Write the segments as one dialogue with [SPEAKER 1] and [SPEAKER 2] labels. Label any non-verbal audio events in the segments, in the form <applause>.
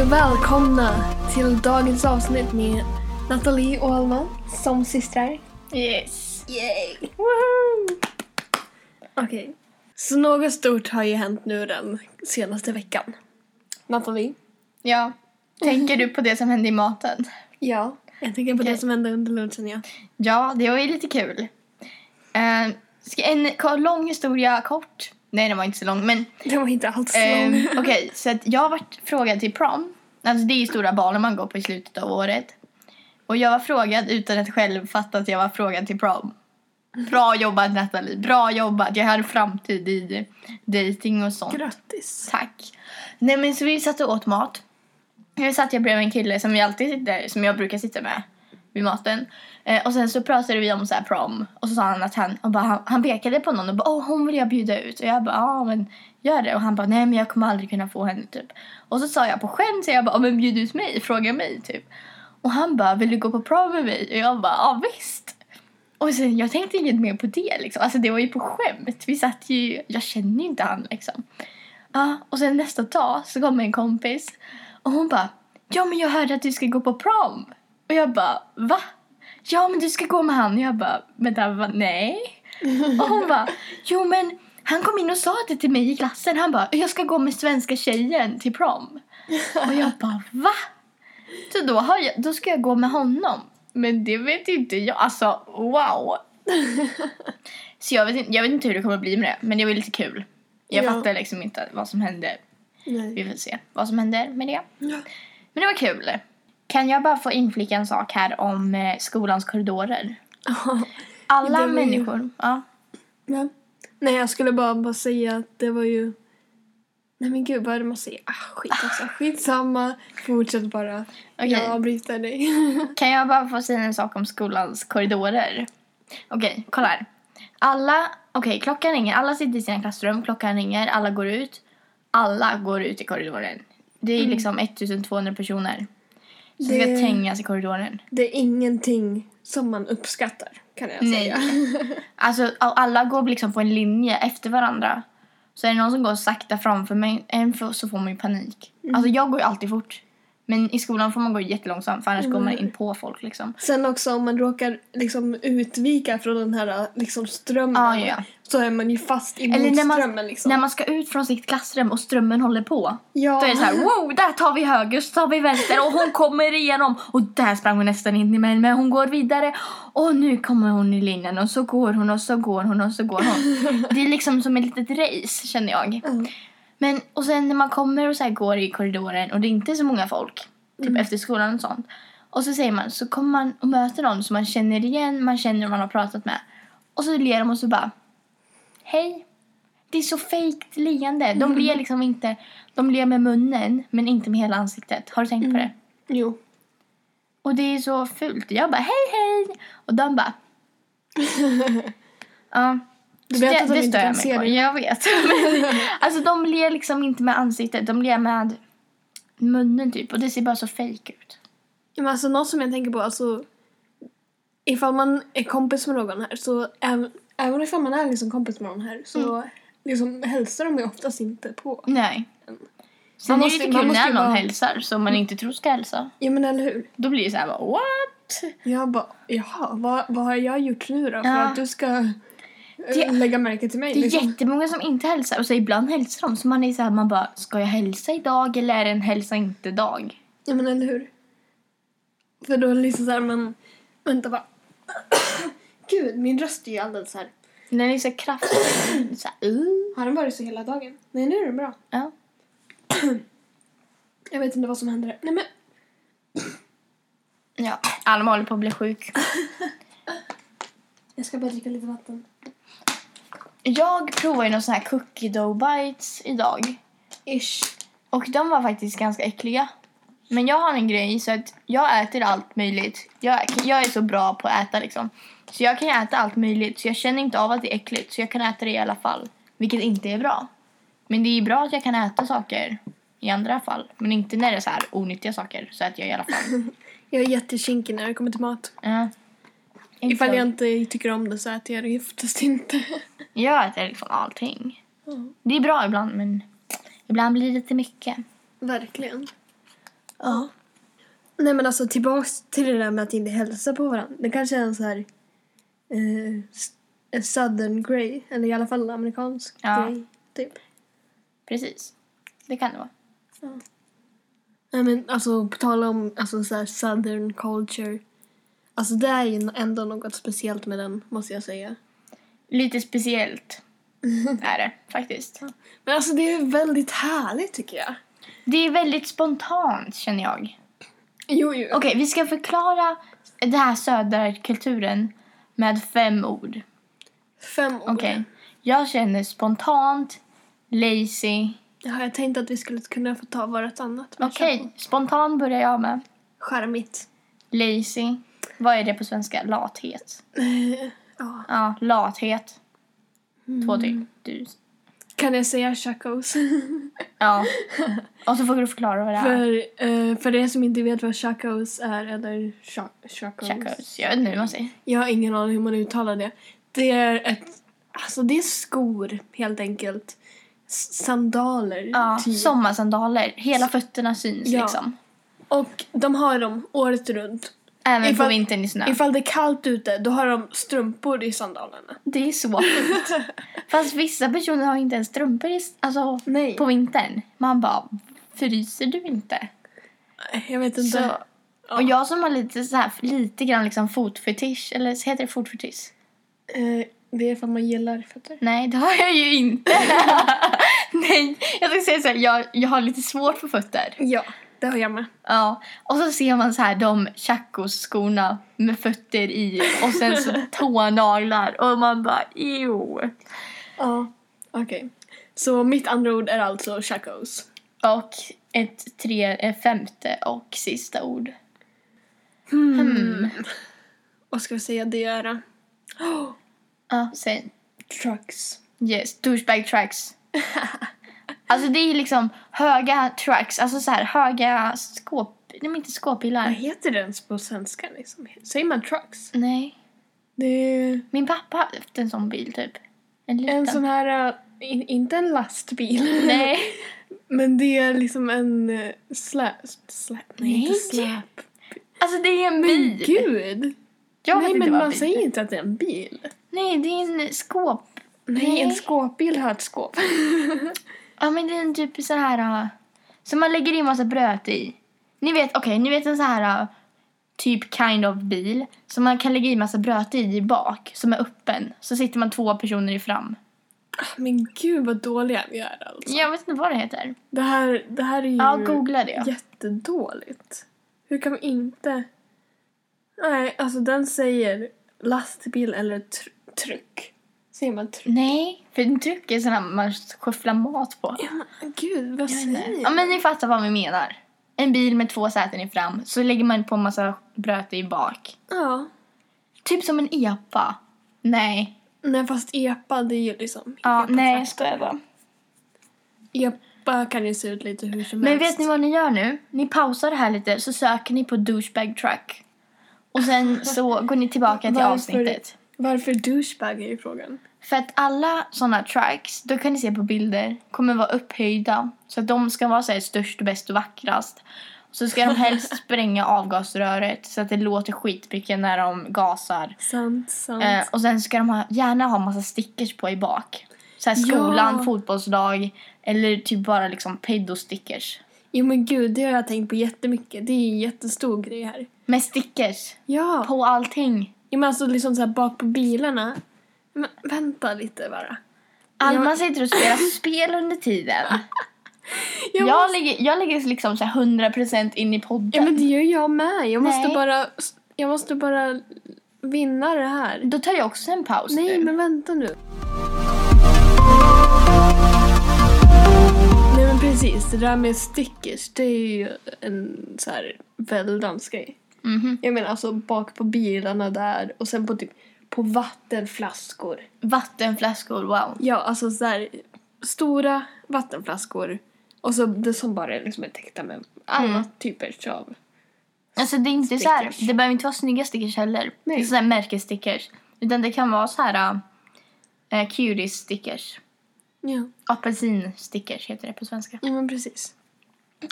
[SPEAKER 1] Välkomna till dagens avsnitt med Nathalie och Alma som systrar.
[SPEAKER 2] Yes.
[SPEAKER 1] Yay! Woohoo! Okej. Så något stort har ju hänt nu den senaste veckan. Nathalie?
[SPEAKER 2] Ja. Tänker du på det som hände i maten?
[SPEAKER 1] Ja? Jag tänker på det
[SPEAKER 2] Okej.
[SPEAKER 1] som hände under lunchen, ja.
[SPEAKER 2] Ja, det var ju lite kul. Eh, ska en ko- lång historia kort? Nej, den var inte så lång. Men
[SPEAKER 1] Det var inte alls
[SPEAKER 2] eh,
[SPEAKER 1] lång.
[SPEAKER 2] <laughs> okej, så att jag varit frågad till prom. Alltså det är ju stora balen man går på i slutet av året. Och jag var frågad utan att själv fatta att jag var frågad till prom. Bra jobbat Nathalie, bra jobbat. Jag hade framtid i dating och sånt.
[SPEAKER 1] Grattis.
[SPEAKER 2] Tack. Nej men så vi satt och åt mat. Jag satt jag bredvid en kille som vi alltid sitter, som jag brukar sitta med vid maten. Eh, och sen så pratade vi om så här prom och så sa han att han, och bara, han, han pekade på någon och bara åh hon vill jag bjuda ut och jag bara ja men gör det och han bara nej men jag kommer aldrig kunna få henne typ. Och så sa jag på skämt så jag bara "Ja, men bjud ut mig, fråga mig typ. Och han bara vill du gå på prom med mig? Och jag bara ja visst. Och sen, jag tänkte inget mer på det liksom. Alltså det var ju på skämt. Vi satt ju, jag känner ju inte han liksom. Ja, och sen nästa dag så kom en kompis och hon bara Ja men jag hörde att du ska gå på prom. Och jag bara va? Ja men du ska gå med han. Och jag bara vänta va? Nej. Och hon bara jo men han kom in och sa det till mig i klassen. Han bara jag ska gå med svenska tjejen till prom. Och jag bara va? Så då, har jag, då ska jag gå med honom. Men det vet inte jag. Alltså wow. Så jag vet, inte- jag vet inte hur det kommer bli med det. Men det var ju lite kul. Jag
[SPEAKER 1] Ja.
[SPEAKER 2] fattar liksom inte vad som hände. Vi
[SPEAKER 1] Nej.
[SPEAKER 2] får se vad som händer med det.
[SPEAKER 1] Ja.
[SPEAKER 2] Men det var kul. Kan jag bara få inflika en sak här om eh, skolans korridorer? Alla
[SPEAKER 1] Det var ju-
[SPEAKER 2] människor. Ja.
[SPEAKER 1] Nej. Nej, jag skulle bara, bara säga att det var ju... Nej men gud, vad är det man säger? Ah, skit <laughs> också. Skitsamma. Fortsätt bara.
[SPEAKER 2] Okej.
[SPEAKER 1] Jag avbryter dig.
[SPEAKER 2] Kan jag bara få säga en sak om skolans korridorer? Okej, kolla här. Alla, okej, klockan ringer. Alla sitter i sina klassrum, klockan ringer, alla går ut. Alla går ut i korridoren. Det är liksom 1200 personer som
[SPEAKER 1] Det-
[SPEAKER 2] ska trängas i korridoren.
[SPEAKER 1] det är ingenting som man uppskattar, kan jag säga. <laughs>
[SPEAKER 2] Alltså a- alla går liksom på en linje efter varandra. Så är det någon som går sakta framför mig en f- så får man ju panik. Alltså jag går ju alltid fort. Men i skolan får man gå jättelångsamt för annars går man in på folk liksom.
[SPEAKER 1] Sen också om man råkar liksom utvika från den här liksom strömmen
[SPEAKER 2] Ja, ja, Ah, ja.
[SPEAKER 1] så är man ju fast emot
[SPEAKER 2] Eller när
[SPEAKER 1] strömmen
[SPEAKER 2] man,
[SPEAKER 1] liksom.
[SPEAKER 2] när man ska ut från sitt klassrum och strömmen håller på.
[SPEAKER 1] ja.
[SPEAKER 2] Då är det så här, wow, där tar vi höger, så tar vi vänster och hon kommer igenom. Och där sprang hon nästan in i mig, men hon går vidare. Och nu kommer hon i linjen och så går hon och så går hon och så går
[SPEAKER 1] <laughs>
[SPEAKER 2] hon. Det är liksom som ett litet race känner jag.
[SPEAKER 1] Mm.
[SPEAKER 2] Men och sen när man kommer och så här går i korridoren och det är inte så många folk, typ efter skolan och sånt. Och så säger man, så kommer man och möter någon som man känner igen, man känner och man har pratat med. Och så ler de och så bara, hej. Det är så fejkt leende. De ler liksom inte, de ler med munnen men inte med hela ansiktet. Har du tänkt på det?
[SPEAKER 1] Jo.
[SPEAKER 2] Och det är så fult. Jag bara, hej hej. Och
[SPEAKER 1] <laughs>
[SPEAKER 2] de bara, ja.
[SPEAKER 1] Du
[SPEAKER 2] Så
[SPEAKER 1] vet
[SPEAKER 2] det,
[SPEAKER 1] att de
[SPEAKER 2] det
[SPEAKER 1] inte
[SPEAKER 2] stör jag
[SPEAKER 1] kan
[SPEAKER 2] mig
[SPEAKER 1] se
[SPEAKER 2] på.
[SPEAKER 1] dig.
[SPEAKER 2] Jag vet. <laughs> Men, alltså de ler liksom inte med ansiktet, de ler med munnen typ. Och det ser bara så fake ut.
[SPEAKER 1] Men alltså något som jag tänker på, alltså ifall man är kompis med någon här så även, även ifall man är liksom kompis med någon här så
[SPEAKER 2] Mm.
[SPEAKER 1] liksom hälsar de ju oftast inte på.
[SPEAKER 2] Nej. Sen
[SPEAKER 1] Man
[SPEAKER 2] är det
[SPEAKER 1] måste-
[SPEAKER 2] lite
[SPEAKER 1] man
[SPEAKER 2] kul
[SPEAKER 1] måste
[SPEAKER 2] när
[SPEAKER 1] ju
[SPEAKER 2] någon
[SPEAKER 1] vara-
[SPEAKER 2] hälsar som man inte tror ska hälsa.
[SPEAKER 1] Ja men eller hur?
[SPEAKER 2] Då blir det så här bara, what?
[SPEAKER 1] Jag bara, jaha, vad, vad har jag gjort nu då för
[SPEAKER 2] Ja.
[SPEAKER 1] att du ska eh,
[SPEAKER 2] Det-
[SPEAKER 1] lägga märke till mig?
[SPEAKER 2] Det är
[SPEAKER 1] liksom?
[SPEAKER 2] jättemånga som inte hälsar. Och så ibland hälsar de. Så man är så här, man bara, ska jag hälsa idag eller är det en hälsa inte-dag?
[SPEAKER 1] Ja men eller hur? För då är det liksom såhär man... Vänta bara. <clears throat> Gud, min röst är ju alldeles så här.
[SPEAKER 2] Den är så kraftig. så här, uh.
[SPEAKER 1] Har den varit så hela dagen? Nej nu är den bra.
[SPEAKER 2] ja.
[SPEAKER 1] Jag vet inte vad som händer. Nej men.
[SPEAKER 2] ja. Alma håller på att bli sjuk.
[SPEAKER 1] Jag ska bara dricka lite vatten.
[SPEAKER 2] Jag provade ju någon sån här cookie dough bites idag.
[SPEAKER 1] Ish.
[SPEAKER 2] Och de var faktiskt ganska äckliga. Men jag har en grej så att jag äter allt möjligt. Jag, jag är så bra på att äta liksom. Så jag kan ju äta allt möjligt. Så jag känner inte av att det är äckligt. Så jag kan äta det i alla fall. Vilket inte är bra. Men det är ju bra att jag kan äta saker i andra fall. Men inte när det är så här onyttiga saker. Så äter jag i alla fall.
[SPEAKER 1] Jag är jättekinkig när det kommer till mat.
[SPEAKER 2] Ja. Inte
[SPEAKER 1] Ifall
[SPEAKER 2] så-
[SPEAKER 1] jag inte tycker om det så äter jag det oftast inte. <laughs>
[SPEAKER 2] Jag äter liksom allting.
[SPEAKER 1] Ja,
[SPEAKER 2] Det är bra ibland men ibland blir det lite mycket.
[SPEAKER 1] verkligen.
[SPEAKER 2] Ja.
[SPEAKER 1] Nej men alltså tillbaks till det där med att inte hälsa på varandra. Det kanske är en så här eh, s- en southern grey, eller i alla fall amerikansk
[SPEAKER 2] Ja.
[SPEAKER 1] grej. Typ.
[SPEAKER 2] Precis. Det kan det vara.
[SPEAKER 1] Nej men alltså på tal om alltså, så här southern culture. Alltså det är ju ändå något speciellt med den måste jag säga.
[SPEAKER 2] Lite speciellt är det faktiskt.
[SPEAKER 1] Men alltså det är väldigt härligt tycker jag.
[SPEAKER 2] Det är väldigt spontant känner jag.
[SPEAKER 1] Jo jo.
[SPEAKER 2] Okej, vi ska förklara den här södra kulturen med fem ord.
[SPEAKER 1] Fem ord.
[SPEAKER 2] Okej. Jag känner spontant, lazy.
[SPEAKER 1] Ja, jag tänkte att vi skulle kunna få ta vartannat. men
[SPEAKER 2] Okej,
[SPEAKER 1] kör på.
[SPEAKER 2] spontan börjar jag med.
[SPEAKER 1] Charmigt.
[SPEAKER 2] Lazy. Vad är det på svenska? Lathet.
[SPEAKER 1] Eh, <laughs> ja. Mm.
[SPEAKER 2] Ja, lathet. Två till. Du.
[SPEAKER 1] Kan jag säga <laughs> chacos? <laughs>
[SPEAKER 2] Ja. Och så får du förklara vad det är.
[SPEAKER 1] För, eh, för er som inte vet vad chacos är, eller cha- chacos.
[SPEAKER 2] Chacos. Jag vet inte hur man säger.
[SPEAKER 1] Jag har ingen aning hur man uttalar det. Det är ett, alltså det är skor helt enkelt. S- Sandaler,
[SPEAKER 2] Ja,
[SPEAKER 1] typ.
[SPEAKER 2] sommarsandaler. Hela fötterna syns
[SPEAKER 1] Ja.
[SPEAKER 2] liksom.
[SPEAKER 1] Och de har dem året runt.
[SPEAKER 2] Även
[SPEAKER 1] Ifall-
[SPEAKER 2] på vintern i snö.
[SPEAKER 1] Ifall det är kallt ute, då har de strumpor i sandalerna.
[SPEAKER 2] Det är så fult.
[SPEAKER 1] <laughs>
[SPEAKER 2] Fast vissa personer har inte ens strumpor i, alltså,
[SPEAKER 1] Nej.
[SPEAKER 2] på vintern. Man bara, fryser du inte?
[SPEAKER 1] Jag vet inte.
[SPEAKER 2] Så, och jag som har lite så här, lite grann liksom fotfetisch, eller så heter det fotfetisch?
[SPEAKER 1] Eh, det är för att man gillar fötter.
[SPEAKER 2] Nej, det har jag ju inte. Nej, jag ska säga så här, jag, jag har lite svårt för fötter.
[SPEAKER 1] Ja, det har jag med.
[SPEAKER 2] Ja, och så ser man så här de tjackoskorna med fötter i och sen så tånaglar och man bara, ew.
[SPEAKER 1] Ja, okej. Så mitt andra ord är alltså chacos.
[SPEAKER 2] Och ett tre, ett femte och sista ord.
[SPEAKER 1] Vad ska vi säga det är? eh, Oh,
[SPEAKER 2] Ja, säg.
[SPEAKER 1] trucks.
[SPEAKER 2] Yes, douchebag tracks. alltså det är liksom höga tracks, alltså så här höga skåp... Nej, men inte skåpbilar.
[SPEAKER 1] Vad heter det ens på svenska? Liksom? Säger man trucks?
[SPEAKER 2] Nej.
[SPEAKER 1] Det är
[SPEAKER 2] Min pappa har haft en sån bil typ. En liten.
[SPEAKER 1] en sån här, äh, in, inte en lastbil,
[SPEAKER 2] Nej.
[SPEAKER 1] <laughs> men det är liksom en äh, släp. släp nej, inte
[SPEAKER 2] Nej.
[SPEAKER 1] släp.
[SPEAKER 2] Alltså det är en
[SPEAKER 1] Men
[SPEAKER 2] bil.
[SPEAKER 1] gud!
[SPEAKER 2] Jag vet
[SPEAKER 1] nej,
[SPEAKER 2] inte
[SPEAKER 1] men
[SPEAKER 2] vad
[SPEAKER 1] man
[SPEAKER 2] bil-
[SPEAKER 1] säger inte att det är en bil.
[SPEAKER 2] Nej, det är en skåp...
[SPEAKER 1] Nej,
[SPEAKER 2] Nej.
[SPEAKER 1] en skåpbil har ett
[SPEAKER 2] <laughs>
[SPEAKER 1] skåp.
[SPEAKER 2] Ja men det är en typ så här... Uh, som man lägger in massa bröt i. Ni vet, okej, ni vet en så här uh, typ kind of bil som man kan lägga i massa bröt i i bak som är öppen. Så sitter man två personer i fram.
[SPEAKER 1] men gud vad dåliga vi är alltså.
[SPEAKER 2] Jag vet inte vad det heter.
[SPEAKER 1] Det här, det här är ju
[SPEAKER 2] Ja, googla det.
[SPEAKER 1] jättedåligt. Hur kan vi inte... Nej, alltså den säger lastbil eller tr- truck. Säger man truck?
[SPEAKER 2] Nej, för en truck är sån här man skyfflar mat på.
[SPEAKER 1] Ja, men gud, vad säger
[SPEAKER 2] Ja, men ni fattar vad vi menar. En bil med två säten i fram, så lägger man på en massa bröte i bak.
[SPEAKER 1] Ja.
[SPEAKER 2] Typ som en epa. Nej.
[SPEAKER 1] Nej, fast epa, det är ju liksom...
[SPEAKER 2] Ja,
[SPEAKER 1] epa
[SPEAKER 2] nej.
[SPEAKER 1] fast. Epa kan ju se ut lite hur som
[SPEAKER 2] Men
[SPEAKER 1] helst.
[SPEAKER 2] vet ni vad ni gör nu? Ni pausar det här lite, så söker ni på douchebag truck. Och <laughs> sen så går ni tillbaka till
[SPEAKER 1] Varför?
[SPEAKER 2] avsnittet.
[SPEAKER 1] Varför douchebag är ju frågan.
[SPEAKER 2] För att alla såna tracks, då kan ni se på bilder, kommer vara upphöjda. Så att de ska vara så här, störst, och bäst och vackrast. Så ska de <laughs> helst spränga avgasröret så att det låter skitmycket när de gasar.
[SPEAKER 1] Sant, sant.
[SPEAKER 2] Eh, och sen ska de ha, gärna ha massa stickers på i bak. Så här skolan,
[SPEAKER 1] Ja.
[SPEAKER 2] fotbollslag eller typ bara liksom pedo-stickers.
[SPEAKER 1] Jo men gud, det har jag tänkt på jättemycket. Det är en jättestor grej här.
[SPEAKER 2] Med stickers
[SPEAKER 1] Ja.
[SPEAKER 2] på allting.
[SPEAKER 1] Ja, men alltså liksom så här bak på bilarna. Men vänta lite bara.
[SPEAKER 2] Alma sitter och spelar spel under tiden.
[SPEAKER 1] <laughs> Jag
[SPEAKER 2] Jag
[SPEAKER 1] måste-
[SPEAKER 2] ligger, jag ligger liksom så här 100% in i podden.
[SPEAKER 1] Ja men det gör jag med. Jag måste
[SPEAKER 2] Nej.
[SPEAKER 1] bara... Jag måste bara vinna det här.
[SPEAKER 2] Då tar jag också en paus
[SPEAKER 1] Nej
[SPEAKER 2] nu.
[SPEAKER 1] men vänta nu. Nej men precis, det där med stickers det är ju en så här väldans grej.
[SPEAKER 2] Mhm.
[SPEAKER 1] Jag menar alltså bak på bilarna där och sen på typ på vattenflaskor.
[SPEAKER 2] Vattenflaskor, wow.
[SPEAKER 1] Ja, alltså så här stora vattenflaskor och så det som bara är liksom är täckta med alla typer av...
[SPEAKER 2] Alltså det är inte så här,
[SPEAKER 1] Stickers.
[SPEAKER 2] det behöver inte vara snygga stickers heller.
[SPEAKER 1] Nej.
[SPEAKER 2] Det är så här märkesstickers. Utan det kan vara så här äh, cuties-stickers.
[SPEAKER 1] Ja.
[SPEAKER 2] Apelsinstickers heter det på svenska.
[SPEAKER 1] ja, men precis.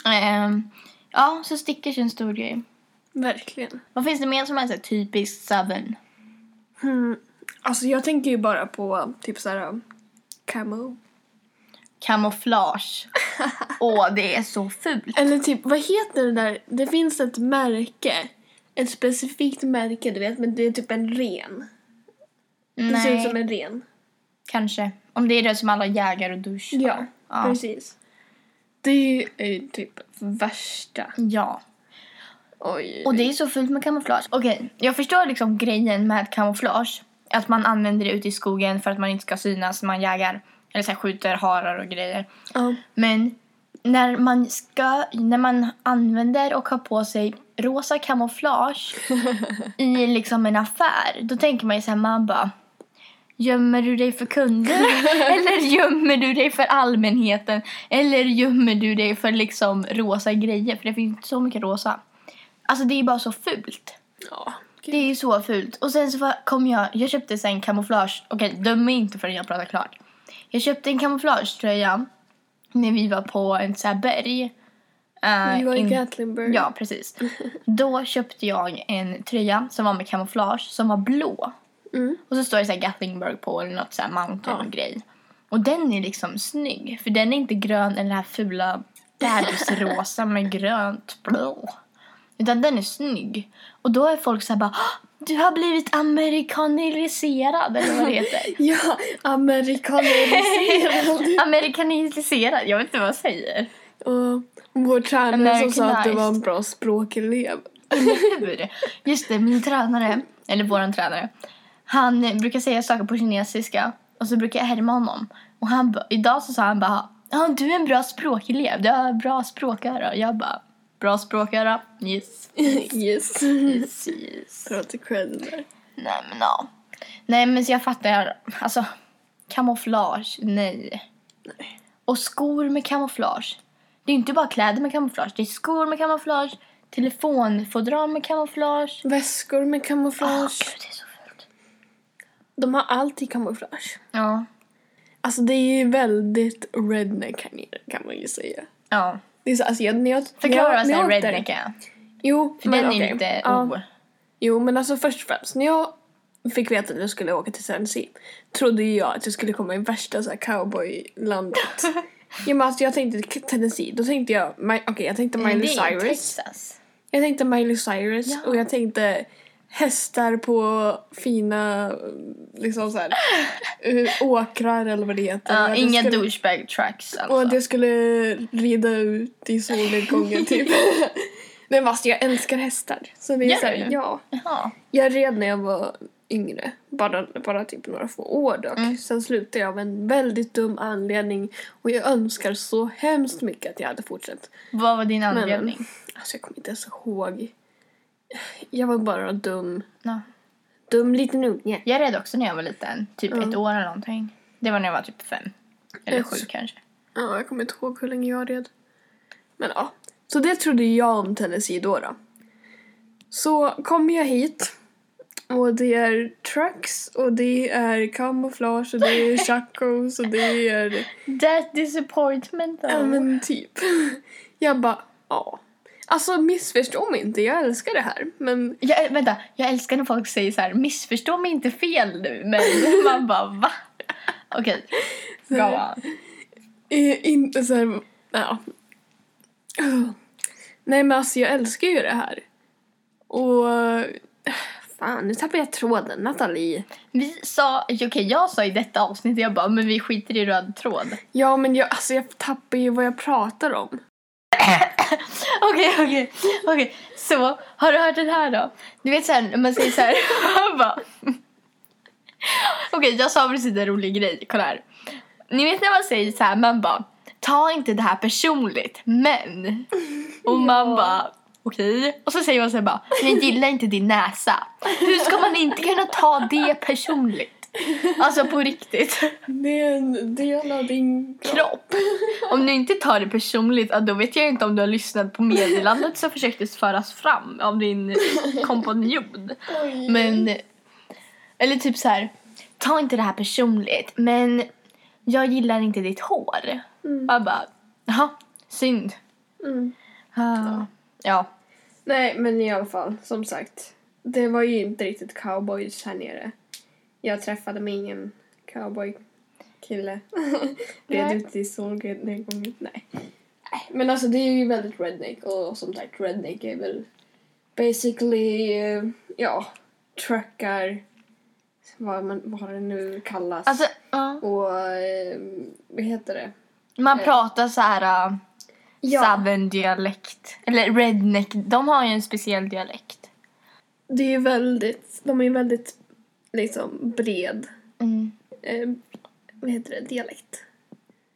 [SPEAKER 2] Ehm, Ja, så stickers är en stor grej.
[SPEAKER 1] Verkligen.
[SPEAKER 2] Vad finns det mer som är så här typiskt southern?
[SPEAKER 1] Hmm. Alltså jag tänker ju bara på typ såhär camo. <laughs>
[SPEAKER 2] Kamouflage. Åh, det är så fult.
[SPEAKER 1] Eller typ, vad heter det där? Det finns ett märke. Ett specifikt märke du vet, men det är typ en ren. Det ser ut som en ren.
[SPEAKER 2] kanske. Om det är det som alla jägar och duschar.
[SPEAKER 1] Ja,
[SPEAKER 2] ja.
[SPEAKER 1] precis. Det är ju typ värsta.
[SPEAKER 2] ja.
[SPEAKER 1] Oj.
[SPEAKER 2] Och det är så fult med kamouflage. Okej, jag förstår liksom grejen med kamouflage. Att man använder det ute i skogen för att man inte ska synas när man jägar. Eller så här, skjuter harar och grejer.
[SPEAKER 1] ja.
[SPEAKER 2] Men när man, ska, när man använder och har på sig rosa kamouflage i liksom en affär, då tänker man ju så här, man bara Gömmer du dig för kunder? Eller gömmer du dig för allmänheten? Eller gömmer du dig för liksom rosa grejer? För det finns inte så mycket rosa. Alltså det är bara så fult.
[SPEAKER 1] ja.
[SPEAKER 2] Det är ju så fult. Och sen så var- kom jag, jag köpte sen kamouflage. Okej, döm mig inte förrän jag pratar klart. Jag köpte en kamouflagetröja när vi var på en så här berg. Eh,
[SPEAKER 1] Vi var i
[SPEAKER 2] in-
[SPEAKER 1] Gatlinburg.
[SPEAKER 2] Ja, precis. Då köpte jag en tröja som var med kamouflage som var blå.
[SPEAKER 1] Mm.
[SPEAKER 2] Och så står det så här Gatlingburg på eller något så här mountain-grej. Och den är liksom snygg för den är inte grön eller den här fula bebisrosa med grönt blå. Utan den är snygg. Och då är folk så här bara "Åh, du har blivit amerikaniserad eller vad det heter.
[SPEAKER 1] Ja,
[SPEAKER 2] <laughs>
[SPEAKER 1] amerikaniserad.
[SPEAKER 2] amerikaniserad, jag vet inte vad jag säger.
[SPEAKER 1] och vår tränare som sa att du
[SPEAKER 2] Americanized.
[SPEAKER 1] var en bra
[SPEAKER 2] <laughs>
[SPEAKER 1] språkelev.
[SPEAKER 2] hur? Just det, min tränare, eller våran tränare, han eh, brukar säga saker på kinesiska och så brukar jag härma honom. Och han, ba- idag så sa han bara ja du är en bra språkelev, du har bra språköra. Och jag bara, bra språköra? Yes,
[SPEAKER 1] yes.
[SPEAKER 2] yes, yes.
[SPEAKER 1] Bra till cred där.
[SPEAKER 2] Nej men ja. Nej men så jag fattar, alltså kamouflage, nej. Och skor med kamouflage. Det är inte bara kläder med kamouflage, det är skor med kamouflage, telefonfodral med kamouflage.
[SPEAKER 1] Väskor med
[SPEAKER 2] Åh,
[SPEAKER 1] kamouflage.
[SPEAKER 2] gud, det är så fult.
[SPEAKER 1] De har alltid kamouflage.
[SPEAKER 2] Ja.
[SPEAKER 1] Alltså det är ju väldigt redneck här nere kan man ju säga.
[SPEAKER 2] ja.
[SPEAKER 1] Det är så, alltså, jag, när jag, när
[SPEAKER 2] Förklara
[SPEAKER 1] jag,
[SPEAKER 2] vad
[SPEAKER 1] när
[SPEAKER 2] sån
[SPEAKER 1] jag åkte-
[SPEAKER 2] redneck är.
[SPEAKER 1] Jo,
[SPEAKER 2] För
[SPEAKER 1] men
[SPEAKER 2] den är
[SPEAKER 1] okej.
[SPEAKER 2] ju lite
[SPEAKER 1] Ja.
[SPEAKER 2] o...
[SPEAKER 1] Jo, men alltså först och främst, när jag fick veta att jag skulle åka till Tennessee trodde ju jag att jag skulle komma i värsta så här
[SPEAKER 2] <laughs>
[SPEAKER 1] cowboylandet. ja, men alltså jag tänkte Tennessee, då tänkte jag, Mi- okej jag tänkte Miley
[SPEAKER 2] Mm, Det är ju
[SPEAKER 1] Cyrus.
[SPEAKER 2] Texas.
[SPEAKER 1] Jag tänkte Miley Cyrus
[SPEAKER 2] Ja.
[SPEAKER 1] och jag tänkte hästar på fina liksom så
[SPEAKER 2] <laughs>
[SPEAKER 1] här, eh, åkrar eller vad det heter.
[SPEAKER 2] Ja,
[SPEAKER 1] Jag
[SPEAKER 2] inga
[SPEAKER 1] skulle-
[SPEAKER 2] douchebag tracks alltså.
[SPEAKER 1] Och att jag skulle rida ut i
[SPEAKER 2] <laughs>
[SPEAKER 1] solnedgången typ. Men fast jag älskar hästar. Så det är
[SPEAKER 2] Gör
[SPEAKER 1] så här,
[SPEAKER 2] du?
[SPEAKER 1] ja.
[SPEAKER 2] Jaha.
[SPEAKER 1] Jag red när jag var yngre. Bara, bara typ några få år dock.
[SPEAKER 2] Mm.
[SPEAKER 1] Sen slutade jag av en väldigt dum anledning. Och jag önskar så hemskt mycket att jag hade fortsatt.
[SPEAKER 2] Vad var din
[SPEAKER 1] Men,
[SPEAKER 2] anledning?
[SPEAKER 1] Alltså jag kommer inte ens ihåg. Jag var bara en dum,
[SPEAKER 2] Ja.
[SPEAKER 1] dum liten unge.
[SPEAKER 2] Jag red också när jag var liten. Typ ett år eller någonting. Det var när jag var typ fem. Eller
[SPEAKER 1] Ett.
[SPEAKER 2] sju kanske.
[SPEAKER 1] Ja, jag kommer inte ihåg hur länge jag red. Men ja. Så det trodde jag om Tennessee då. då. Så kommer jag hit. Och det är trucks och det är kamouflage och det är chacos och det är...
[SPEAKER 2] That disappointment
[SPEAKER 1] Ja men typ. Jag bara, ja. Alltså missförstå mig inte, jag älskar det här. Men
[SPEAKER 2] Jag, vänta, jag älskar när folk säger så här missförstå mig inte fel nu men <laughs> man bara va? Okej, go on.
[SPEAKER 1] eh, inte så här, ja. Nej men alltså jag älskar ju det här. Och fan nu tappar jag tråden Nathalie.
[SPEAKER 2] Vi sa, okej jag sa i detta avsnitt, jag bara men vi skiter i röd tråd.
[SPEAKER 1] Ja men jag, alltså, jag tappar ju vad jag pratar om.
[SPEAKER 2] <laughs> Okej, okej, okej. Så, har du hört den här då? Du vet såhär, när man säger såhär, <laughs> man bara... Okej, jag sa precis en rolig grej, kolla här. Ni vet när man säger såhär, man bara, ta inte det här personligt, men... Och man bara, okej. Och så säger man såhär bara, men jag gillar inte din näsa. Hur ska man inte kunna ta det personligt? Alltså på riktigt.
[SPEAKER 1] Det är en del av din
[SPEAKER 2] kropp. Om du inte tar det personligt, ja, då vet jag inte om du har lyssnat på meddelandet som försöktes föras fram av din kompanjon.
[SPEAKER 1] Oj.
[SPEAKER 2] Men, eller typ så här, ta inte det här personligt, men jag gillar inte ditt hår.
[SPEAKER 1] Mm.
[SPEAKER 2] Jag bara, jaha, synd.
[SPEAKER 1] Mm.
[SPEAKER 2] Ja. Ah, Ja.
[SPEAKER 1] Nej, men i alla fall, som sagt. Det var ju inte riktigt cowboys här nere. Jag träffade mig ingen cowboykille. <laughs> Red
[SPEAKER 2] Nej.
[SPEAKER 1] ut i solnedgången. Nej. Nej, Men alltså det är ju väldigt redneck och som sagt redneck är väl basically, eh, ja, truckar, vad, man, vad det nu kallas.
[SPEAKER 2] Alltså, ja.
[SPEAKER 1] och eh, vad heter det?
[SPEAKER 2] man
[SPEAKER 1] eh.
[SPEAKER 2] pratar så här uh,
[SPEAKER 1] Ja.
[SPEAKER 2] southern-dialekt. Eller redneck. De har ju en speciell dialekt.
[SPEAKER 1] Det är ju väldigt, de är ju väldigt liksom bred.
[SPEAKER 2] Mm.
[SPEAKER 1] eh, vad heter det, dialekt.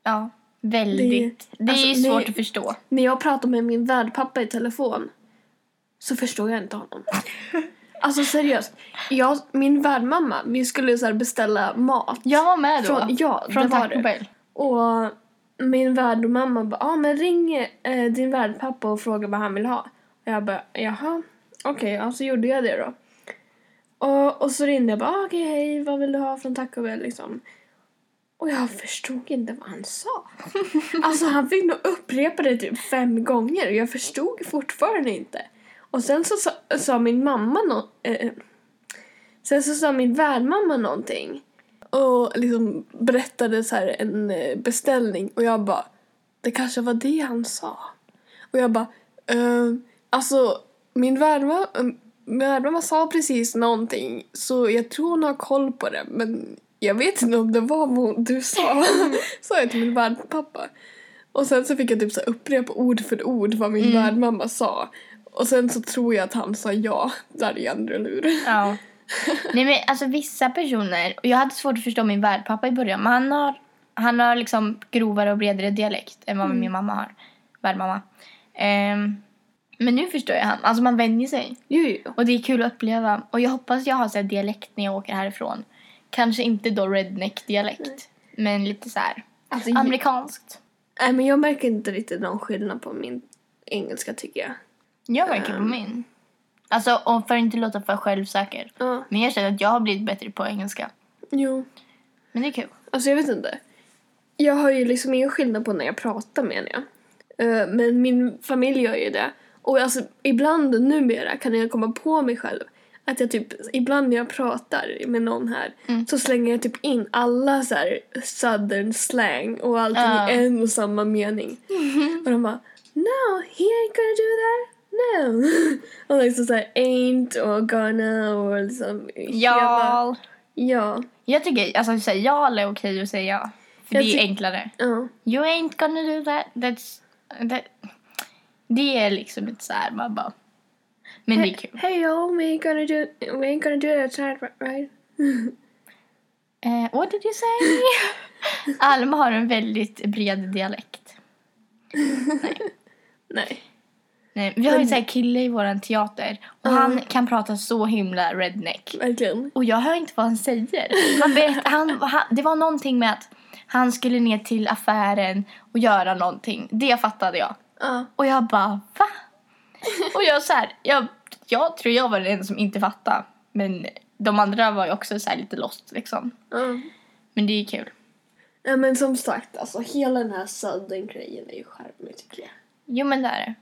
[SPEAKER 2] Ja, väldigt. Det, är ju
[SPEAKER 1] alltså,
[SPEAKER 2] svårt
[SPEAKER 1] det-
[SPEAKER 2] att förstå.
[SPEAKER 1] När jag pratar med min värdpappa i telefon så förstår jag inte
[SPEAKER 2] <laughs>
[SPEAKER 1] honom. Alltså seriöst, jag, min värdmamma, vi skulle så här beställa mat.
[SPEAKER 2] Jag var med då.
[SPEAKER 1] Från, ja,
[SPEAKER 2] från
[SPEAKER 1] det var
[SPEAKER 2] Taco
[SPEAKER 1] det.
[SPEAKER 2] Bell.
[SPEAKER 1] Och min värdmamma bara, ja ah, men ring eh, din värdpappa och fråga vad han vill ha. Och jag bara, jaha, okej, ja, så gjorde jag det då. Och, och så ringde jag bara, ah, okej, hej, vad vill du ha från Taco Bell liksom? Och jag förstod inte vad han sa. Alltså han fick nog upprepa det typ fem gånger och jag förstod fortfarande inte. Och sen så sa, sa min mamma no- eh, Sen så sa min värdmamma någonting och liksom berättade så här en eh, beställning och jag bara det kanske var det han sa. Och jag bara ehm, alltså min värdmamma, min värdmamma sa precis någonting så jag tror hon har koll på det men jag vet inte om det var vad hon- du sa. <laughs> sa jag till min värdpappa. Och sen så fick jag typ så här upprepa ord för ord vad min värdmamma sa. Och sen så tror jag att han sa ja där i andra luren.
[SPEAKER 2] Ja. Nej men alltså vissa personer, och jag hade svårt att förstå min värdpappa i början men han har, han har liksom grovare och bredare dialekt än vad min mamma har. Värdmamma. Ehm, men nu förstår jag han. Alltså man vänjer sig.
[SPEAKER 1] Jo, jo.
[SPEAKER 2] Och det är kul att uppleva. Och jag hoppas jag har så här dialekt när jag åker härifrån. Kanske inte då redneck-dialekt. Men lite så här
[SPEAKER 1] Alltså,
[SPEAKER 2] amerikanskt.
[SPEAKER 1] Nej, men jag märker inte riktigt någon skillnad på min engelska tycker jag.
[SPEAKER 2] Jag märker på min. Alltså och för att inte låta för självsäker.
[SPEAKER 1] Ja.
[SPEAKER 2] Men jag känner att jag har blivit bättre på engelska.
[SPEAKER 1] Jo.
[SPEAKER 2] Men det är kul.
[SPEAKER 1] Alltså jag vet inte. Jag har ju liksom ingen skillnad på när jag pratar menar jag. Eh, Men min familj gör ju det. Och alltså ibland numera kan jag komma på mig själv att jag typ, ibland när jag pratar med någon här så slänger jag typ in alla så här southern slang och allting
[SPEAKER 2] Ja.
[SPEAKER 1] i en och samma mening. Och de bara No, he ain't gonna do that. No. <laughs> och liksom såhär ain't och gonna och liksom hela-
[SPEAKER 2] Jal.
[SPEAKER 1] Ja.
[SPEAKER 2] Jag tycker alltså säga jal är okej att säga ja. För
[SPEAKER 1] Jag
[SPEAKER 2] det är
[SPEAKER 1] tyck-
[SPEAKER 2] enklare.
[SPEAKER 1] Ja.
[SPEAKER 2] You ain't gonna do that. That's, that. Det är liksom inte så här man bara. Men det är kul.
[SPEAKER 1] Hey yo, we ain't gonna do we ain't gonna do that tonight, ri- right?
[SPEAKER 2] Eh, what did you say? Alma har en väldigt bred dialekt.
[SPEAKER 1] Nej.
[SPEAKER 2] Nej, vi har ju en kille i vår teater och han kan prata så himla redneck.
[SPEAKER 1] Verkligen.
[SPEAKER 2] Och jag hör inte vad han säger. Man vet, han, han, det var någonting med att han skulle ner till affären och göra någonting. Det fattade jag.
[SPEAKER 1] Ja.
[SPEAKER 2] Och jag bara, va? Och jag så här, jag, jag tror jag var den enda som inte fattade. Men de andra var ju också så här lite lost liksom.
[SPEAKER 1] Ja.
[SPEAKER 2] Men det är ju kul.
[SPEAKER 1] Ja, men som sagt, alltså hela den här sudden grejen är ju charmig tycker jag.
[SPEAKER 2] Jo men det är det.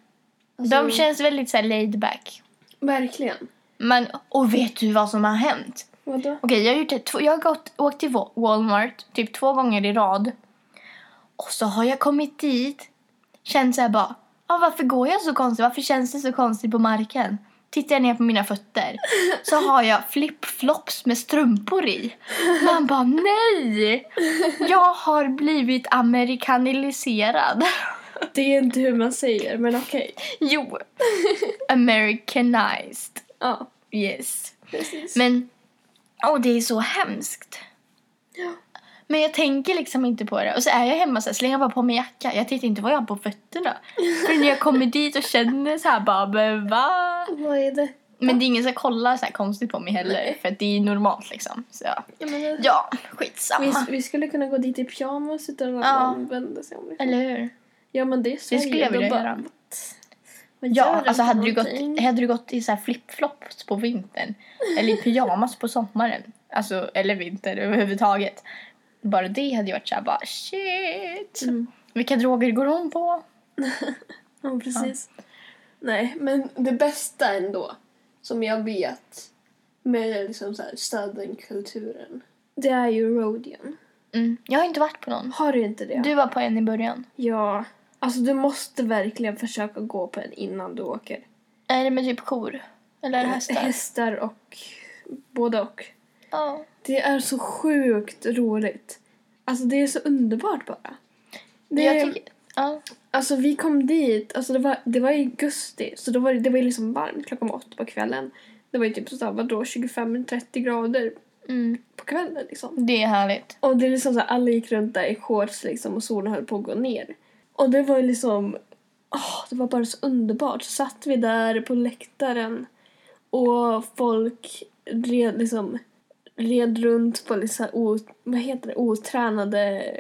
[SPEAKER 1] Alltså,
[SPEAKER 2] De känns väldigt så här laid back.
[SPEAKER 1] Verkligen.
[SPEAKER 2] Men, och vet du vad som har hänt?
[SPEAKER 1] Vadå?
[SPEAKER 2] Okej, jag har, gjort det, två- jag har gått, åkt till Wa- Walmart typ två gånger i rad. Och så har jag kommit dit, känt såhär bara, ah, varför går jag så konstigt? Varför känns det så konstigt på marken? Tittar jag ner på mina fötter så har jag flip-flops med strumpor i. Man bara, nej! Jag har blivit amerikaniserad. <laughs>
[SPEAKER 1] Det är inte hur man säger, men okej.
[SPEAKER 2] Jo, americanized.
[SPEAKER 1] Ja,
[SPEAKER 2] Yes.
[SPEAKER 1] precis.
[SPEAKER 2] Men, åh det är så hemskt.
[SPEAKER 1] Ja.
[SPEAKER 2] Men jag tänker liksom inte på det. Och så är jag hemma så här, slänger jag bara på mig jacka. Jag tittar inte vad jag har på
[SPEAKER 1] <laughs>
[SPEAKER 2] fötterna. För när jag kommer dit och känner så här bara, men va?
[SPEAKER 1] Vad är det?
[SPEAKER 2] Men det är ingen som kollar så här konstigt på mig heller. För att det är normalt liksom. Så ja,
[SPEAKER 1] Ja, men det...
[SPEAKER 2] ja
[SPEAKER 1] Vi,
[SPEAKER 2] skitsamma.
[SPEAKER 1] vi skulle kunna gå dit i pyjamas utan att
[SPEAKER 2] Ja.
[SPEAKER 1] någon vände sig om. Liksom.
[SPEAKER 2] Eller hur?
[SPEAKER 1] Ja, men det är Sverige.
[SPEAKER 2] skulle jag
[SPEAKER 1] då
[SPEAKER 2] vilja
[SPEAKER 1] bara-
[SPEAKER 2] göra.
[SPEAKER 1] Vad gör
[SPEAKER 2] Ja,
[SPEAKER 1] du
[SPEAKER 2] alltså
[SPEAKER 1] för
[SPEAKER 2] hade du,
[SPEAKER 1] någonting?
[SPEAKER 2] gått, hade du gått i så här flipflops på vintern eller i pyjamas på sommaren, alltså, eller vinter överhuvudtaget. Bara det hade ju varit så här bara shit.
[SPEAKER 1] Mm.
[SPEAKER 2] Vilka droger går hon på?
[SPEAKER 1] Ja, precis. Nej, men det bästa ändå som jag vet med liksom så här southern-kulturen, det är ju rodeon.
[SPEAKER 2] Mm. Jag har inte varit på någon.
[SPEAKER 1] Har du inte det?
[SPEAKER 2] Du var på en i början.
[SPEAKER 1] Ja. Alltså du måste verkligen försöka gå på en innan du åker.
[SPEAKER 2] Är det med typ kor?
[SPEAKER 1] Eh,
[SPEAKER 2] Eller hästar?
[SPEAKER 1] Hästar och både och.
[SPEAKER 2] Ja.
[SPEAKER 1] Det är så sjukt roligt. Alltså det är så underbart bara. Det,
[SPEAKER 2] Jag tycker... Ja.
[SPEAKER 1] Alltså vi kom dit, alltså det var, det var i augusti, så då var det, det var ju liksom varmt klockan var åtta på kvällen. Det var ju typ sådär, vadå, 25-30 grader
[SPEAKER 2] Mm.
[SPEAKER 1] på kvällen liksom.
[SPEAKER 2] Det är härligt.
[SPEAKER 1] Och det är liksom så här, alla gick runt där i shorts liksom och solen höll på att gå ner. Och det var ju liksom, åh, det var bara så underbart. Så satt vi där på läktaren och folk red liksom, red runt på liksom, o, vad heter det, otränade,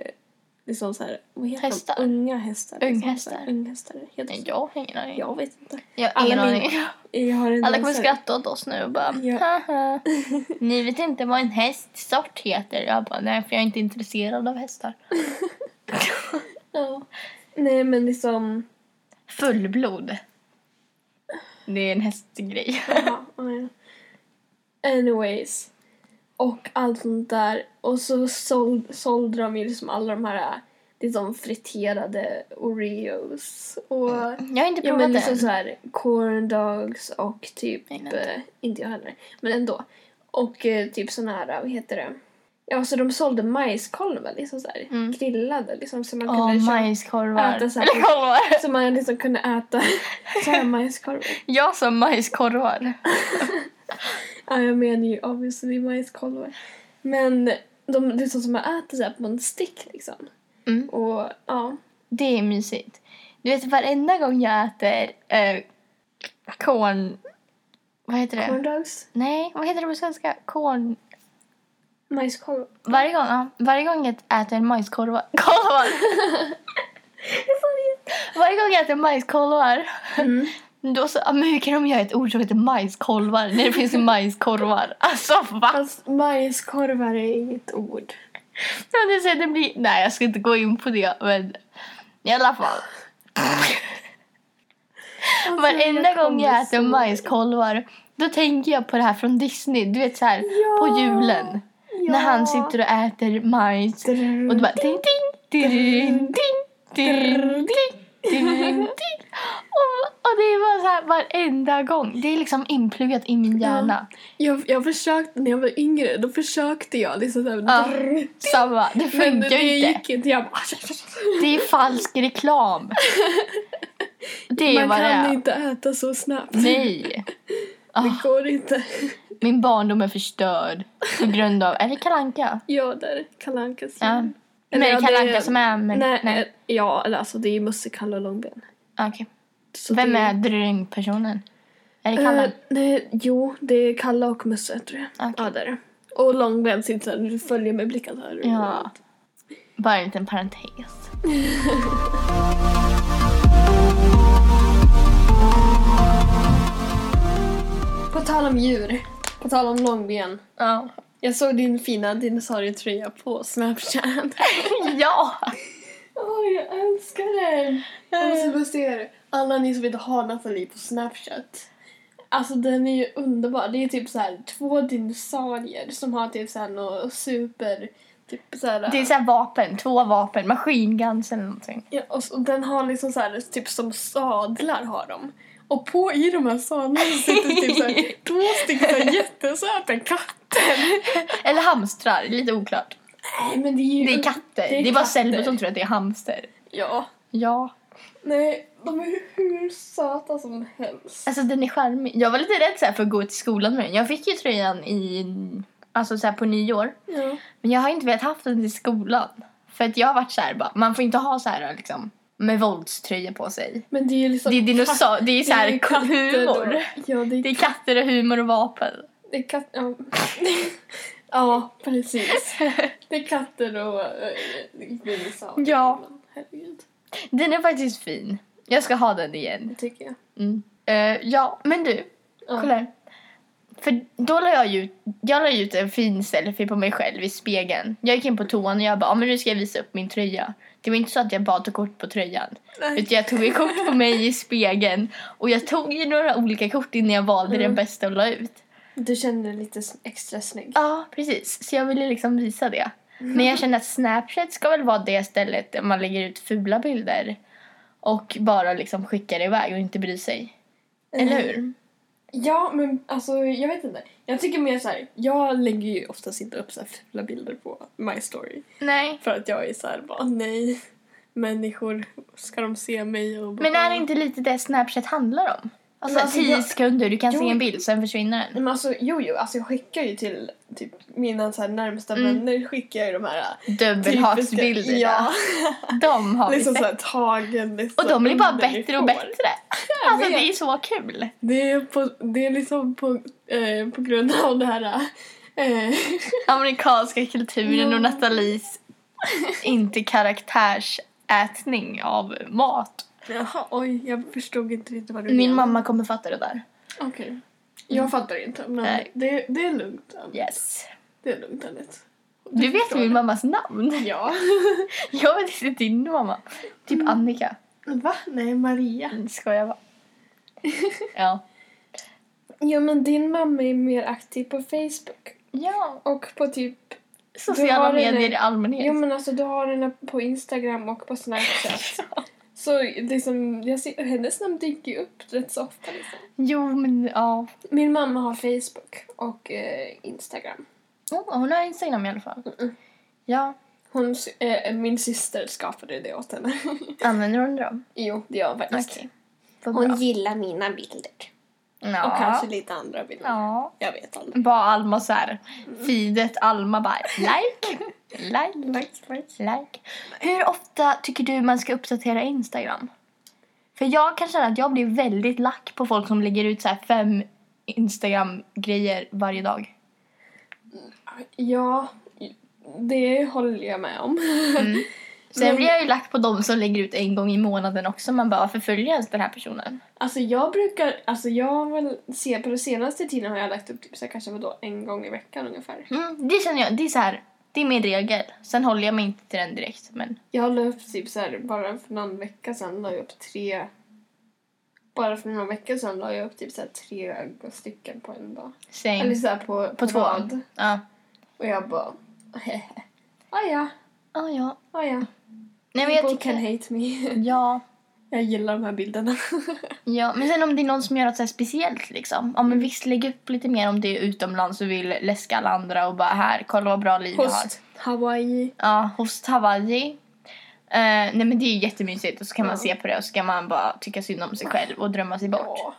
[SPEAKER 1] liksom så här, vad heter
[SPEAKER 2] Hästar.
[SPEAKER 1] de? Unga hästar. liksom,
[SPEAKER 2] Unghästar.
[SPEAKER 1] så här, Unghästar, heter
[SPEAKER 2] Nej,
[SPEAKER 1] det så?
[SPEAKER 2] jag har ingen aning.
[SPEAKER 1] Jag vet inte.
[SPEAKER 2] Jag har ingen
[SPEAKER 1] Alla min-
[SPEAKER 2] aning.
[SPEAKER 1] Jag har inte
[SPEAKER 2] Alla
[SPEAKER 1] ens
[SPEAKER 2] kommer
[SPEAKER 1] så här-
[SPEAKER 2] skratta åt oss nu och bara
[SPEAKER 1] Ja. <laughs>
[SPEAKER 2] haha. Ni vet inte vad en hästsort heter. Jag bara nej för jag är inte intresserad av hästar.
[SPEAKER 1] Ja. Nej men liksom,
[SPEAKER 2] Fullblod. Det är en hästgrej. <laughs>
[SPEAKER 1] Ja, ja. Anyways. Och allt sånt där. Och så såld, sålde de ju liksom alla de här liksom friterade Oreos. Och
[SPEAKER 2] Jag har inte
[SPEAKER 1] ja,
[SPEAKER 2] provat
[SPEAKER 1] men
[SPEAKER 2] det
[SPEAKER 1] liksom
[SPEAKER 2] än.
[SPEAKER 1] så här corn dogs och typ,
[SPEAKER 2] Nej, nej.
[SPEAKER 1] eh, inte jag heller, men ändå. Och eh, typ sån här, vad heter det? Ja, så de sålde majskolvar liksom så här,
[SPEAKER 2] Mm.
[SPEAKER 1] grillade liksom så man
[SPEAKER 2] Ja,
[SPEAKER 1] kunde köpa-
[SPEAKER 2] majskorvar.
[SPEAKER 1] äta så här-
[SPEAKER 2] Eller korvar. <laughs>
[SPEAKER 1] så man liksom kunde äta <laughs> så här majskolvar.
[SPEAKER 2] Jag sa majskorvar.
[SPEAKER 1] Ja, jag menar ju obviously majskolvar. Men de, det är sånt som man äter så här på en stick liksom.
[SPEAKER 2] Mm.
[SPEAKER 1] Och ja,
[SPEAKER 2] Det är mysigt. Du vet varenda gång jag äter eh, korn... Vad heter det?
[SPEAKER 1] corndogs,
[SPEAKER 2] Nej, vad heter det på svenska? Korn...
[SPEAKER 1] majskolvar.
[SPEAKER 2] Varje gång, ja, varje gång jag äter <laughs> majskorvar... Korvar! varje gång jag äter majskolvar,
[SPEAKER 1] Mm.
[SPEAKER 2] då så... ja, Men hur kan de göra ett ord som heter majskolvar när det finns majskorvar? Alltså va?
[SPEAKER 1] Alltså, majskorvar är inget ord.
[SPEAKER 2] Men det, så det blir... Nej, jag ska inte gå in på det, men i alla fall.
[SPEAKER 1] Alltså,
[SPEAKER 2] Varenda gång jag
[SPEAKER 1] kommer
[SPEAKER 2] äter
[SPEAKER 1] så-
[SPEAKER 2] majskolvar, då tänker jag på det här från Disney. Du vet så här,
[SPEAKER 1] Ja.
[SPEAKER 2] på julen. När han
[SPEAKER 1] Ja.
[SPEAKER 2] sitter och äter majs. Och du bara ding, Mm. ding, ding, ding, ding, ding, ding. Och, och det var så här varenda gång. Det är liksom inpluggat i min hjärna.
[SPEAKER 1] Jag, jag försökte, när jag var yngre, då försökte jag liksom såhär.
[SPEAKER 2] Ja, samma. Det
[SPEAKER 1] Men det,
[SPEAKER 2] funkar
[SPEAKER 1] det
[SPEAKER 2] ju inte.
[SPEAKER 1] gick inte. Jag bara,
[SPEAKER 2] Det är falsk <laughs> reklam. Det är
[SPEAKER 1] man
[SPEAKER 2] vad det
[SPEAKER 1] kan
[SPEAKER 2] är.
[SPEAKER 1] inte äta så snabbt.
[SPEAKER 2] Nej.
[SPEAKER 1] Det går inte.
[SPEAKER 2] Min barndom är förstörd på grund av... Är det Kalle Anka?
[SPEAKER 1] Ja, där är Kalle Ankas
[SPEAKER 2] Mm. Ja.
[SPEAKER 1] jul.
[SPEAKER 2] Men det
[SPEAKER 1] Eller,
[SPEAKER 2] är
[SPEAKER 1] ja,
[SPEAKER 2] Kalle
[SPEAKER 1] det-
[SPEAKER 2] Anka som är... Men,
[SPEAKER 1] Nej,
[SPEAKER 2] nej.
[SPEAKER 1] ja, eller alltså det är ju Musse, Kalle och Långben.
[SPEAKER 2] Ah, okej.
[SPEAKER 1] Så
[SPEAKER 2] Vem
[SPEAKER 1] det-
[SPEAKER 2] är drängpersonen? Är det Kalle?
[SPEAKER 1] Eh, nej, jo, det är Kalle och Musse tror jag.
[SPEAKER 2] Okej.
[SPEAKER 1] Ja, det är det. Och Långben sitter såhär, du följer med blicken såhär.
[SPEAKER 2] Ja. Bara en liten parentes.
[SPEAKER 1] På tal om djur, på tal om Långben.
[SPEAKER 2] Ja.
[SPEAKER 1] Jag såg din fina dinosaurietröja på Snapchat.
[SPEAKER 2] <laughs> ja!
[SPEAKER 1] Åh, jag älskar den! Jag
[SPEAKER 2] Eh.
[SPEAKER 1] måste bara se er. Alla ni som inte har Nathalie på Snapchat. Alltså den är ju underbar. Det är typ så här två dinosaurier som har typ såhär något super... Typ såhär...
[SPEAKER 2] Det är så här vapen, två vapen, maskinguns eller någonting.
[SPEAKER 1] Ja, och, så, och den har liksom så här, typ som sadlar har de. Och på i de här sadlarna sitter typ så
[SPEAKER 2] <laughs>
[SPEAKER 1] här, två stycken så här jättesöta katter.
[SPEAKER 2] Eller hamstrar, lite oklart.
[SPEAKER 1] Nej men det är ju...
[SPEAKER 2] Det är katter. Det är, bara Selma som tror att det är hamster.
[SPEAKER 1] Ja.
[SPEAKER 2] Ja.
[SPEAKER 1] Nej, de är ju hur söta som helst.
[SPEAKER 2] Alltså den är charmig. Jag var lite rädd så här, för att gå till skolan med den. Jag fick ju tröjan i, alltså så här, på nyår.
[SPEAKER 1] Ja.
[SPEAKER 2] Men jag har inte velat haft den till skolan. För att jag har varit så här, bara, man får inte ha så här liksom med våldströja på sig.
[SPEAKER 1] Men det är ju liksom...
[SPEAKER 2] Det är dinosaur, det är så här
[SPEAKER 1] det är katter då.
[SPEAKER 2] humor.
[SPEAKER 1] Ja, det
[SPEAKER 2] Det
[SPEAKER 1] är,
[SPEAKER 2] är katter och humor och vapen.
[SPEAKER 1] det är katter. Ja. <laughs> ja, precis. Det är katter och eh, dinosaurier.
[SPEAKER 2] Ja.
[SPEAKER 1] Herregud,
[SPEAKER 2] Den är faktiskt fin. Jag ska ha den igen.
[SPEAKER 1] det tycker jag.
[SPEAKER 2] Mm. Eh, ja, men du.
[SPEAKER 1] Ja.
[SPEAKER 2] Kolla här. För då la jag ut, jag la ut en fin selfie på mig själv i spegeln. Jag gick in på toan och jag bara, "Ja, men nu ska jag visa upp min tröja. Det var inte så att jag bara tog kort på tröjan.
[SPEAKER 1] Nej.
[SPEAKER 2] Utan jag tog ett kort på mig i spegeln. Och jag tog ju några olika kort innan jag valde den bästa och la ut.
[SPEAKER 1] Du kände dig lite s- extra snygg.
[SPEAKER 2] Ja, precis. Så jag ville liksom visa det. Men jag känner att Snapchat ska väl vara det stället där man lägger ut fula bilder och bara liksom skickar iväg och inte bryr sig. Eller hur?
[SPEAKER 1] Mm. Ja, men alltså jag vet inte. Jag tycker mer så här, jag lägger ju oftast inte upp så här fula bilder på My Story.
[SPEAKER 2] Nej.
[SPEAKER 1] För att jag är så här bara, nej. Människor, ska de se mig och bara,
[SPEAKER 2] Men är det inte lite det Snapchat handlar om? Alltså,
[SPEAKER 1] Men Mm. alltså,
[SPEAKER 2] tio
[SPEAKER 1] jag-
[SPEAKER 2] sekunder, du kan
[SPEAKER 1] Jo.
[SPEAKER 2] se en bild, sen försvinner den.
[SPEAKER 1] Men alltså jo, jo, alltså jag skickar ju till typ mina så här närmsta
[SPEAKER 2] Mm.
[SPEAKER 1] vänner skickar jag ju de här äh,
[SPEAKER 2] Dubbelhaksbilderna.
[SPEAKER 1] Ja, <laughs>
[SPEAKER 2] De har vi
[SPEAKER 1] liksom
[SPEAKER 2] sett.
[SPEAKER 1] så här tagen. Liksom,
[SPEAKER 2] Och de blir bara
[SPEAKER 1] under
[SPEAKER 2] bättre
[SPEAKER 1] får.
[SPEAKER 2] och bättre. Alltså
[SPEAKER 1] vet.
[SPEAKER 2] det är så kul.
[SPEAKER 1] Det är, på, det är liksom på, eh, på grund av det här <laughs> eh,
[SPEAKER 2] Amerikanska kulturen
[SPEAKER 1] Ja.
[SPEAKER 2] och Nathalies inte karaktärsätning av mat.
[SPEAKER 1] Jaha, oj, jag förstod inte riktigt vad du
[SPEAKER 2] Min
[SPEAKER 1] menade.
[SPEAKER 2] mamma kommer fatta det där.
[SPEAKER 1] Okej. Jag fattar inte, men
[SPEAKER 2] Nej.
[SPEAKER 1] det, det är lugnt. Ann.
[SPEAKER 2] Yes.
[SPEAKER 1] Det är lugnt, Anette.
[SPEAKER 2] Du vet
[SPEAKER 1] förstår
[SPEAKER 2] min
[SPEAKER 1] det.
[SPEAKER 2] mammas namn. <laughs>
[SPEAKER 1] Ja. <laughs>
[SPEAKER 2] Jag vet inte din mamma.
[SPEAKER 1] Mm.
[SPEAKER 2] Typ Annika.
[SPEAKER 1] Va? Nej, Maria.
[SPEAKER 2] Skojar
[SPEAKER 1] <laughs>
[SPEAKER 2] bara. Ja.
[SPEAKER 1] Ja, men din mamma är mer aktiv på Facebook
[SPEAKER 2] Ja.
[SPEAKER 1] och på typ... Du
[SPEAKER 2] Sociala
[SPEAKER 1] har
[SPEAKER 2] medier
[SPEAKER 1] en-
[SPEAKER 2] i allmänhet.
[SPEAKER 1] Jo, men alltså du har henne på Instagram och på <laughs> Snapchat. Så liksom, jag ser, hennes namn dyker ju upp rätt så ofta liksom.
[SPEAKER 2] Jo, men ja.
[SPEAKER 1] Min mamma har Facebook och eh, Instagram.
[SPEAKER 2] Oh, hon har Instagram i alla fall.
[SPEAKER 1] Mm.
[SPEAKER 2] Ja.
[SPEAKER 1] Hon, sy- eh, min syster skapade det åt henne. <laughs>
[SPEAKER 2] Använder hon dem?
[SPEAKER 1] jo, det gör hon faktiskt.
[SPEAKER 2] Okej. Vad bra.
[SPEAKER 1] gillar mina bilder.
[SPEAKER 2] Ja.
[SPEAKER 1] Och kanske lite andra bilder.
[SPEAKER 2] Ja.
[SPEAKER 1] Jag vet aldrig.
[SPEAKER 2] Bara Alma så här. Feedet Alma bara like, like,
[SPEAKER 1] <laughs> Like, like.
[SPEAKER 2] like. Hur ofta tycker du man ska uppdatera Instagram? För jag kan känna att jag blir väldigt lack på folk som lägger ut så här fem Instagram-grejer varje dag.
[SPEAKER 1] Ja, det håller jag med om. Mm. <laughs>
[SPEAKER 2] Sen
[SPEAKER 1] Men-
[SPEAKER 2] blir jag ju lack på dem som lägger ut en gång i månaden också. Man bara, varför följer jag ens den här personen?
[SPEAKER 1] Alltså jag brukar, alltså jag har väl se på den senaste tiden har jag lagt upp typ så här, kanske vadå, en gång i veckan ungefär.
[SPEAKER 2] Mm, det känner jag, det är så här, det är min regel. Sen håller jag mig inte till den direkt, men
[SPEAKER 1] Jag la upp typ så här, bara för någon vecka sedan la jag upp tre bara för någon vecka sedan la jag upp typ så här tre stycken på en dag. Eller
[SPEAKER 2] same.
[SPEAKER 1] så här på, Mm. på,
[SPEAKER 2] två.
[SPEAKER 1] rad.
[SPEAKER 2] Ja.
[SPEAKER 1] Och jag bara, <laughs> hehe. Ah, ja,
[SPEAKER 2] Ah, ja.
[SPEAKER 1] ah, ja.
[SPEAKER 2] Nej, men jag
[SPEAKER 1] People
[SPEAKER 2] tycker...
[SPEAKER 1] can hate me. <laughs>
[SPEAKER 2] Ja.
[SPEAKER 1] Jag gillar de här bilderna.
[SPEAKER 2] Ja, men sen om det är någon som gör något så här speciellt liksom.
[SPEAKER 1] Mm.
[SPEAKER 2] Ja men visst, lägg upp lite mer om det är utomlands och vill läska alla andra och bara här, kolla vad
[SPEAKER 1] <laughs>
[SPEAKER 2] bra liv jag har.
[SPEAKER 1] Host, Hawaii.
[SPEAKER 2] Ja, host Hawaii. Eh, nej men det är ju jättemysigt och så kan man
[SPEAKER 1] Ja.
[SPEAKER 2] se på det och så kan man bara tycka synd om sig själv och drömma sig bort.
[SPEAKER 1] Ja.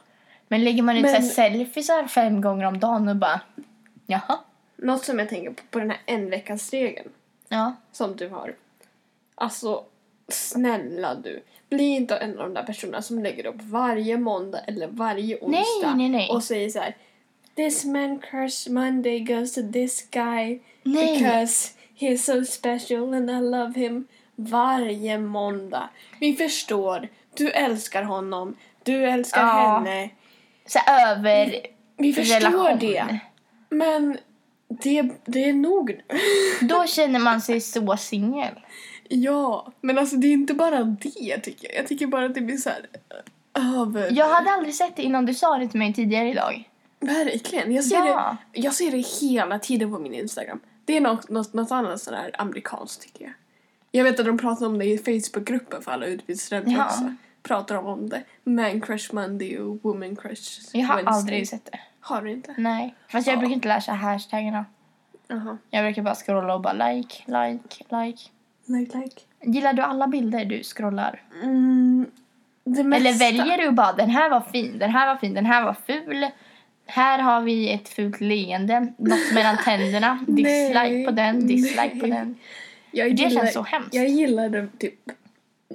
[SPEAKER 2] Men lägger man ut
[SPEAKER 1] Men-
[SPEAKER 2] så här selfiesar fem gånger om dagen och bara jaha,
[SPEAKER 1] Något som jag tänker på, på den här en veckans regeln
[SPEAKER 2] ja.
[SPEAKER 1] som du har. Alltså, snälla du. Bli inte en av de där personerna som lägger upp varje måndag eller varje onsdag
[SPEAKER 2] nej, nej.
[SPEAKER 1] och säger så här. This man crush Monday goes to this guy
[SPEAKER 2] Nej.
[SPEAKER 1] because he's so special and I love him. Varje måndag. Vi förstår. Du älskar honom. Du älskar
[SPEAKER 2] Ja.
[SPEAKER 1] henne.
[SPEAKER 2] Så här, över
[SPEAKER 1] Vi förstår
[SPEAKER 2] relation.
[SPEAKER 1] det. Men det, det är nog nu. <laughs>
[SPEAKER 2] Då känner man sig så singel.
[SPEAKER 1] Ja, men alltså det är inte bara det tycker jag. Jag tycker bara att det blir så här eh, över...
[SPEAKER 2] Jag hade aldrig sett det innan du sa det till mig tidigare idag.
[SPEAKER 1] Verkligen. Jag ser,
[SPEAKER 2] Ja.
[SPEAKER 1] det, jag ser det hela tiden på min Instagram. Det är något, något, något annat sådär amerikanskt tycker jag. Jag vet att de pratar om det i Facebookgruppen för alla utbytesstudenter
[SPEAKER 2] Ja.
[SPEAKER 1] också. Pratar de om det. Man crush Monday och woman crush
[SPEAKER 2] Jag har
[SPEAKER 1] Wednesday.
[SPEAKER 2] aldrig sett Mm. det.
[SPEAKER 1] Har du inte?
[SPEAKER 2] Nej, fast jag
[SPEAKER 1] Ja.
[SPEAKER 2] brukar inte lära sig hashtaggarna.
[SPEAKER 1] Jaha.
[SPEAKER 2] Jag brukar bara scrolla och bara like, like, like.
[SPEAKER 1] Like, like.
[SPEAKER 2] Gillar du alla bilder du scrollar?
[SPEAKER 1] Mm, det mesta.
[SPEAKER 2] Eller väljer du bara den här var fin, den här var fin, den här var ful. Här har vi ett fult leende, något mellan tänderna. Dislike
[SPEAKER 1] <laughs> Nej,
[SPEAKER 2] på den, dislike på
[SPEAKER 1] nej.
[SPEAKER 2] den.
[SPEAKER 1] Jag
[SPEAKER 2] Det känns så hemskt.
[SPEAKER 1] Jag gillade typ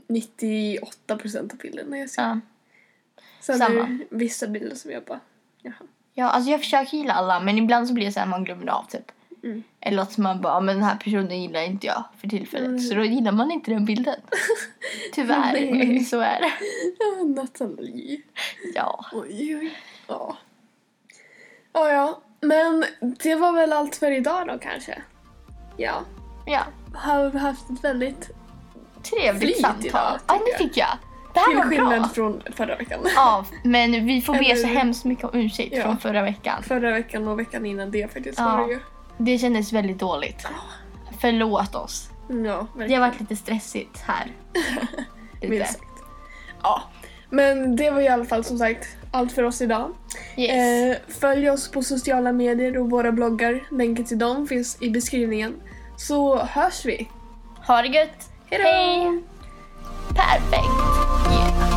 [SPEAKER 1] 98% av bilderna jag ser.
[SPEAKER 2] Ja.
[SPEAKER 1] Sen är det
[SPEAKER 2] samma.
[SPEAKER 1] vissa bilder som jag bara, jaha. <laughs>
[SPEAKER 2] ja, alltså jag försöker gilla alla men ibland så blir det så här man glömmer av typ.
[SPEAKER 1] Mm.
[SPEAKER 2] Eller att man bara, men den här personen gillar inte jag för tillfället.
[SPEAKER 1] Mm.
[SPEAKER 2] Så då gillar man inte
[SPEAKER 1] <laughs>
[SPEAKER 2] den bilden. Tyvärr,
[SPEAKER 1] Nej.
[SPEAKER 2] men så är det.
[SPEAKER 1] Ja, Nathalie.
[SPEAKER 2] Ja.
[SPEAKER 1] Oj, oj. Ja. Ja, ja. Men det var väl allt för idag då kanske? Ja.
[SPEAKER 2] Ja.
[SPEAKER 1] Har vi haft ett väldigt...
[SPEAKER 2] Trevligt
[SPEAKER 1] Flyt
[SPEAKER 2] samtal.
[SPEAKER 1] idag, tycker
[SPEAKER 2] ja,
[SPEAKER 1] jag.
[SPEAKER 2] det tycker jag. Det här
[SPEAKER 1] Till
[SPEAKER 2] var bra.
[SPEAKER 1] skillnad från förra veckan.
[SPEAKER 2] Ja, men vi får be
[SPEAKER 1] Eller-
[SPEAKER 2] så hemskt mycket om ursäkt
[SPEAKER 1] Ja.
[SPEAKER 2] från förra
[SPEAKER 1] <laughs>
[SPEAKER 2] veckan.
[SPEAKER 1] Förra veckan och veckan innan det faktiskt
[SPEAKER 2] Ja.
[SPEAKER 1] var det ju.
[SPEAKER 2] Det kändes väldigt dåligt. Förlåt oss.
[SPEAKER 1] Mm, Ja,
[SPEAKER 2] Det
[SPEAKER 1] verkligen.
[SPEAKER 2] har varit lite stressigt
[SPEAKER 1] <laughs>
[SPEAKER 2] här. Lite.
[SPEAKER 1] Minst sagt. Ja. Men det var i alla fall som sagt allt för oss idag.
[SPEAKER 2] Yes.
[SPEAKER 1] Eh, följ oss på sociala medier och våra bloggar. Länken till dem finns i beskrivningen. Så hörs vi!
[SPEAKER 2] Ha det gött.
[SPEAKER 1] Hejdå!
[SPEAKER 2] Perfekt. Yeah.